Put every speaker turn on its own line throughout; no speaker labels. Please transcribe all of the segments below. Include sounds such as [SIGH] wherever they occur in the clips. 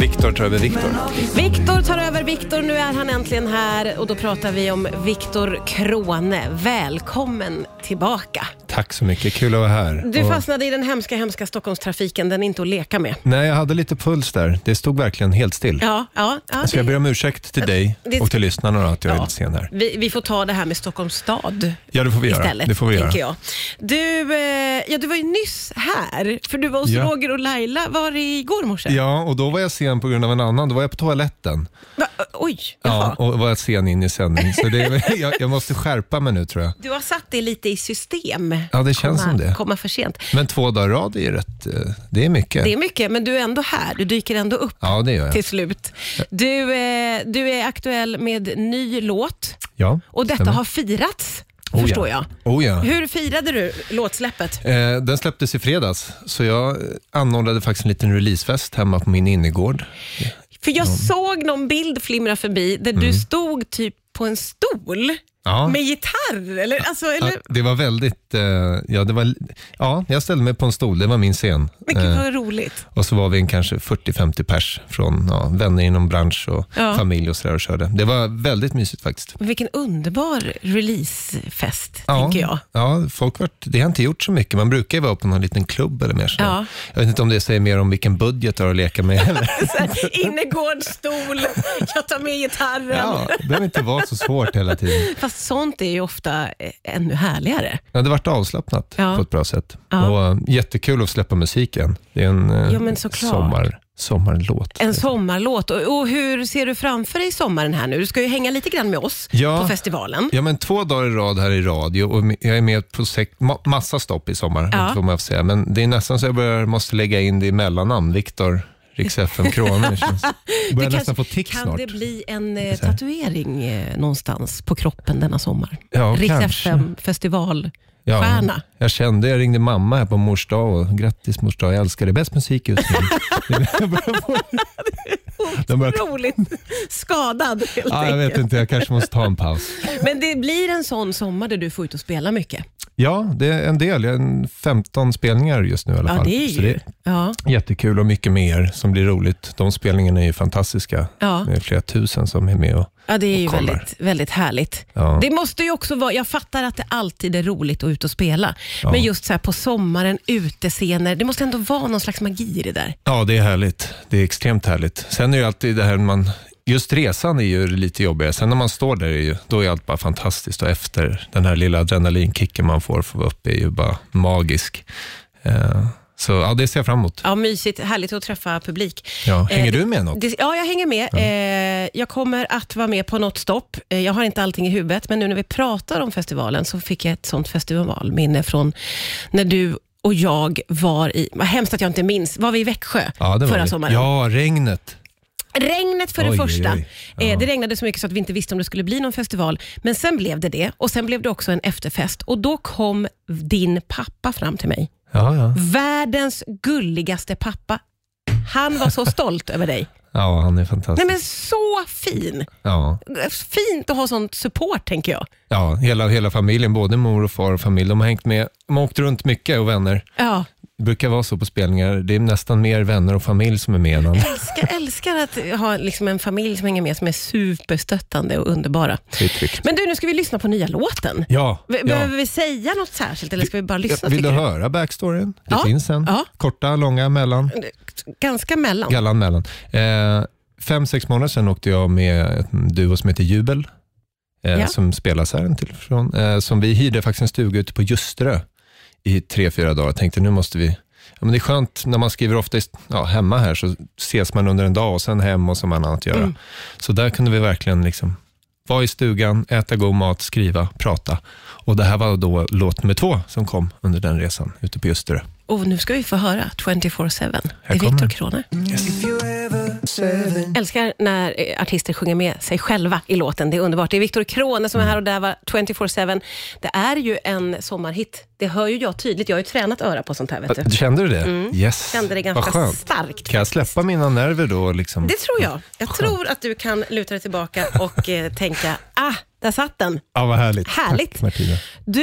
Viktor tar över Viktor.
Viktor tar över Viktor, nu är han äntligen här och då pratar vi om Viktor Krone. Välkommen tillbaka.
Tack så mycket, kul att vara här.
Du
Och-
fastnade i den hemska, hemska Stockholmstrafiken, den är inte att leka med.
Nej, jag hade lite puls där. Det stod verkligen helt still.
Ja, ja, ja. Alltså,
Så jag ber om ursäkt till dig
det-
och till lyssnarna då, att jag är
Ja.
lite sen här.
Vi, vi får ta det här med Stockholms stad
Ja, det får vi göra.
istället,
Det får vi göra.
tänker jag. Du, eh, ja, du var ju nyss här, för du var hos
Ja.
Roger och Laila, var det igår morse?
Ja, och då var jag sen på grund av en annan. Då var jag på toaletten
Va, oj,
ja,
jaha.
och var sen in i sändning. Så det,
[LAUGHS]
jag, jag måste skärpa mig nu tror jag.
Du har satt det lite i system.
Ja, det känns
komma,
som det.
Komma för sent.
Men två dagar i rad är ju rätt, eh, det är mycket.
Det är mycket, men du är ändå här. Du dyker ändå upp
Ja, det gör jag.
[LAUGHS] till slut. Du, eh, du är aktuell med ny låt
Ja,
och detta
stämmer.
har firats,
Oh ja.
förstår jag.
Oh ja.
Hur firade du låtsläppet?
Eh, den släpptes i fredags, så jag eh, anordnade faktiskt en liten releasefest hemma på min innergård.
För jag såg någon bild flimra förbi där du stod typ på en stol
Mm. Ja.
med gitarr. Eller, alltså,
Ja,
eller,
det var väldigt... Eh, ja, det var, ja, jag ställde mig på en stol, det var min scen. Eh,
men gud vad roligt.
Och så var vi en kanske 40-50 pers från ja, vänner inom bransch och
Ja.
familj och sådär och körde. Det var väldigt mysigt faktiskt.
Men Vilken underbar releasefest, tänker jag. [LAUGHS]
Ja, folk vart, det har inte gjort så mycket. Man brukar ju vara på någon liten klubb eller mer. sådär.
Ja.
Jag vet inte om det säger mer om vilken budget du har att leka med.
[LAUGHS]
Eller?
Så här, Innergårdsstol, jag tar med gitarren.
Ja, det behöver inte vara så svårt hela tiden.
Fast sånt är ju ofta eh, ännu härligare.
Ja, det vart avslappnat
Ja.
på ett bra sätt.
Ja.
Och, eh, jättekul att släppa musiken. Det är en eh,
Ja, men såklart.
sommar, sommarlåt.
En sommarlåt. Och, och hur ser du framför dig sommaren här nu? Du ska ju hänga lite grann med oss
Ja.
på festivalen.
Ja, men två dagar i rad här i radio och m- jag är med på sex, ma- massa stopp i sommar,
Ja.
det får man väl säga. Men det är nästan så jag börjar, måste lägga in det i mellannamn, Viktor Rix FM
[LAUGHS]
Kroner. känns-
Du
börjar
kanske-
nästan få tics
kan
snart.
det bli en eh, tatuering eh, någonstans på kroppen denna sommar?
Ja,
Rix
kanske.
FM
[LAUGHS]
festivalstjärna. Ja.
jag kände, jag ringde mamma här på mors dag och grattis mors dag, jag älskar det bäst musik
[LAUGHS]
just nu. Jag börjar få- De börjar-
Otroligt skadad helt
ja, jag
enkelt.
vet inte, jag kanske måste ta en paus.
Men det blir en sån sommar där du får ut och spela mycket.
Ja, det är en del. Jag har en 15 spelningar just nu i alla
Ja,
fall.
det är
Så
ju...
det
Ja.
är jättekul och mycket mer som blir roligt. De spelningarna är ju fantastiska.
Ja.
Det är flera tusen som är med. Och,
Ja, det är ju
och kollar.
väldigt, väldigt härligt.
Ja.
Det måste ju också vara, jag fattar att det alltid är roligt att ut och spela, men just så här på sommaren, utescener, det måste ändå vara någon slags magi i det där.
ja, det är härligt. Det är extremt härligt. Sen är ju alltid det här man... Just resan är ju lite jobbigare. Sen när man står där, är ju, då är allt bara fantastiskt. Och efter den här lilla adrenalinkicken man får för att vara uppe är ju bara magisk. Eh, så ja, det ser jag fram emot.
Ja, mysigt, härligt att träffa publik.
Ja.
Eh,
Hänger
det-
du med något?
Det, ja, jag hänger med. Eh, jag kommer att vara med på något stopp. Eh, jag har inte allting i huvudet, men nu när vi pratar om festivalen så fick jag ett sånt festivalminne från när du och jag var i, vad hemskt att jag inte minns, var vi i Växjö
Ja, det var
förra
det.
sommaren?
Ja, regnet.
Regnet för det
Oj,
första.
oj, oj.
Eh,
Ja.
Det regnade så mycket så att vi inte visste om det skulle bli någon festival. Men sen blev det det och sen blev det också en efterfest. Och då kom din pappa fram till mig.
Ja, ja.
Världens gulligaste pappa. Han var så stolt över dig.
ja han är fantastisk.
Nej men så fin!
Ja,
Fint att ha sån support tänker jag.
ja hela, hela familjen, både mor och far och familj, de har hängt med. De har åkt runt mycket och vänner.
Ja,
Det brukar vara så på spelningar. Det är nästan mer vänner och familj som är med än andra.
älskar, älskar att ha liksom en familj som hänger med som är superstöttande och underbara.
Det är tryggt.
Men du, nu ska vi lyssna på nya låten.
Ja,
Be-
ja.
Behöver vi säga något särskilt eller ska vi bara lyssna?
Vill
tycker
du
du?
höra backstoryn? Det
Ja,
finns en.
ja.
Korta, långa, mellan.
Ganska mellan.
Gallan, mellan. Eh, fem, sex månader sedan åkte jag med en duo som heter Jubel, eh,
Ja.
som spelas här till och från, eh, som vi hyrde faktiskt en stuga ute på Ljusterö i tre, fyra dagar. Jag tänkte nu måste vi, ja, men det är skönt när man skriver ofta i st- ja, hemma här så ses man under en dag och sen hem och så har man annat att göra. Så där kunde vi verkligen liksom vara i stugan, äta god mat, skriva, prata. Och det här var då låt nummer två som kom under den resan ute på Ljusterö.
Och nu ska vi få höra 24-7. Det är
kommer
Viktor
den.
Crone. Älskar när eh, artister sjunger med sig själva i låten. Det är underbart. Det är Viktor Crone som är här och där var 24-7. Det är ju en sommarhit. Det hör ju jag tydligt. Jag har ju tränat öra på sånt här. Vet du.
Kände du det? Yes.
Mm. Kände det
Vad
ganska
skönt.
starkt.
Kan jag släppa mina nerver då? Liksom?
Det tror jag. Jag tror att du kan luta dig tillbaka och eh, tänka, ah, där satt den.
Ja, vad härligt.
Härligt.
Tack, Martina.
Du,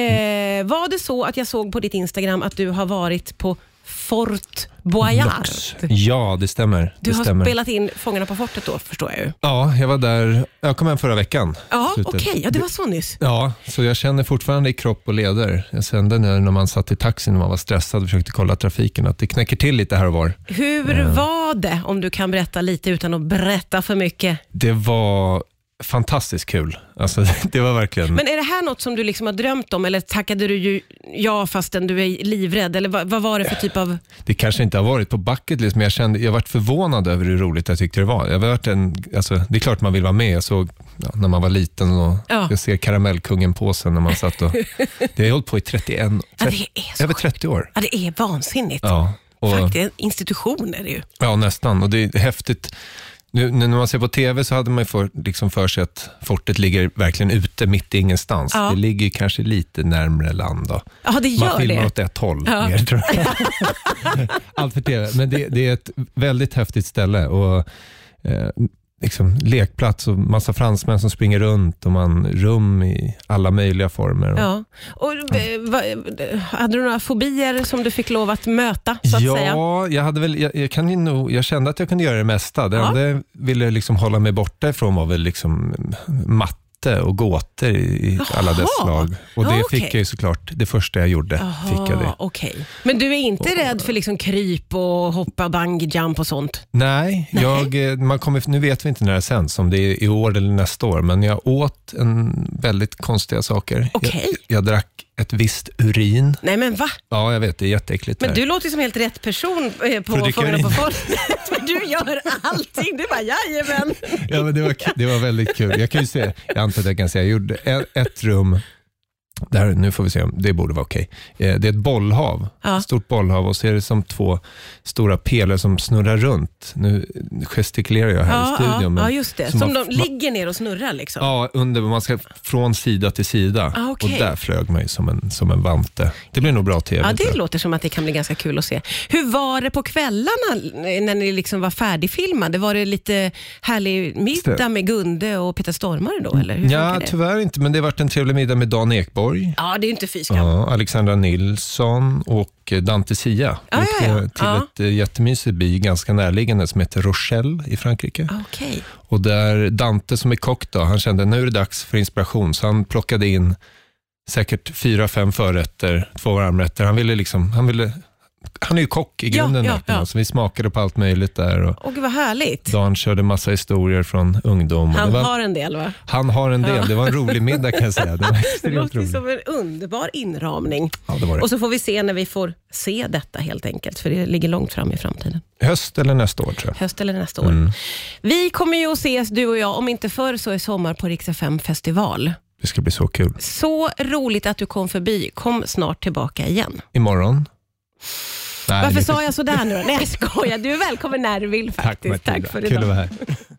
eh, var det så att jag såg på ditt Instagram att du har varit på Fort Boyard.
Vox. Ja, det stämmer.
Du
det
har
stämmer.
spelat in Fångarna på fortet då, förstår jag ju.
Ja, jag var där. Jag kom hem förra veckan.
Ja,
Slutet.
okej. Ja, det var så nyss.
Ja, så jag känner fortfarande i kropp och leder. Jag kände när, när man satt i taxin och man var stressad och försökte kolla trafiken att det knäcker till lite här och var.
Hur var det, om du kan berätta lite utan att berätta för mycket?
Det var fantastiskt kul. Alltså, [LAUGHS] det var verkligen...
Men är det här något som du liksom har drömt om eller tackade du ju ja fastän du är livrädd? Eller vad, vad var det för typ av...
Det kanske inte har varit på bucket list, men jag, kände, jag varit förvånad över hur roligt jag tyckte det var. Jag varit en, alltså, det är klart man vill vara med. Jag såg ja, när man var liten och
Ja.
jag ser Karamellkungen-påsen när man satt
[LAUGHS]
och... det har jag hållit på i 31,
Ja, det
30,
är så
över
sjukt.
30 år.
Ja, det är vansinnigt.
Ja, och,
Faktiskt, en institution är det ju.
ja, nästan. Och det är häftigt. Nu, nu när man ser på tv så hade man ju för, liksom för sig att fortet ligger verkligen ute mitt i ingenstans.
Ja.
Det ligger ju kanske lite närmre land. Då.
Ja, det
Man
gör
filmar
det.
åt ett håll
Ja.
mer, tror jag. [LAUGHS] Allt för tv. Men det, det är ett väldigt häftigt ställe. Och, eh, liksom, lekplats och massa fransmän som springer runt och man rum i alla möjliga former. Och,
Ja. Och, eh, vad- eh, hade du några fobier som du fick lov att möta? Så att säga?
Ja, jag, hade väl, jag, jag, kan ju nog, jag kände att jag kunde göra det mesta. Det
Ja.
enda jag ville liksom hålla mig borta ifrån var väl liksom matte och gåtor i i alla dess
Jaha.
slag. Och det
Ja,
fick
okej.
jag ju såklart, det första jag gjorde fick jag det.
Jaha, okej. Men du är inte rädd för liksom kryp och hoppa bungee jump och sånt?
Nej,
Nej.
Jag, eh, man kommer, nu vet vi inte när det sänds, om det är i år eller nästa år, men jag åt en väldigt konstiga saker.
Okej.
Jag, jag drack ett visst urin.
Nej men va?
Ja, jag vet, det är jätteäckligt.
Men
där.
du låter ju som helt rätt person eh, på
Fredrik
Fångarna på [LAUGHS]
Karin.
fortet. Men du gör allting. Du bara jajamän.
Ja, men det, var, det var väldigt kul. Jag kan ju säga, jag antar att jag kan säga, jag gjorde ett, ett rum, där, nu får vi se, om- det borde vara okej. Eh, Det är ett bollhav,
Ja.
stort bollhav och så är det som två stora pelare som snurrar runt. Nu gestikulerar jag här i studion.
ja,
men-
ja, just det.
som
Som,
har-
de ligger ner och snurrar liksom.
Ja, under, man ska från sida till sida.
Ah, okej.
Och där flög man ju som en, som en vante. Det blir nog bra tv.
Ja,
tror
det
jag.
låter som att det kan bli ganska kul att se. Hur var det på kvällarna eh, när ni liksom var färdigfilmade? Var det lite härlig middag med Gunde och Peter Stormare då? Eller hur
Ja,
funkar det?
tyvärr inte, men det har varit en trevlig middag med Dan Ekborg,
Ja, det är ju inte fy skam.
ja, Alexandra Nilsson och eh, Dante Sia.
Ja,
Vi
Ah, ja, ja.
till
Ja.
ett eh, jättemysigt by ganska närliggande som heter Rochelle i Frankrike.
Okej.
Och där Dante som är kock då, han kände nu är det dags för inspiration, så han plockade in säkert fyra, fem förrätter, två varmrätter. Han ville liksom, han ville, han är ju kock i
Ja,
grunden,
ja,
där på
ja.
något, så vi smakade på allt möjligt där. Och
Och vad härligt.
Dan körde massa historier från ungdom. och
Han
det var,
har en del va?
han har en del,
Ja.
det var en rolig middag kan jag säga.
[LAUGHS]
Det var
Det
extremt
låter
roligt.
som en underbar inramning.
Ja, det var det.
Och så får vi se när vi får se detta helt enkelt, för det ligger långt fram i framtiden.
Höst eller nästa år tror jag.
Höst eller nästa år.
Mm.
Vi kommer ju att ses du och jag, om inte förr så i sommar på Rix FM festival.
Det ska bli så kul.
Så roligt att du kom förbi. Kom snart tillbaka igen.
Imorgon? Nej,
Varför
det-
sa jag sådär nu då? Nej, jag skojar. Du är välkommen när du vill
Tack
faktiskt.
Martina,
Tack för
kul att
idag.
vara här.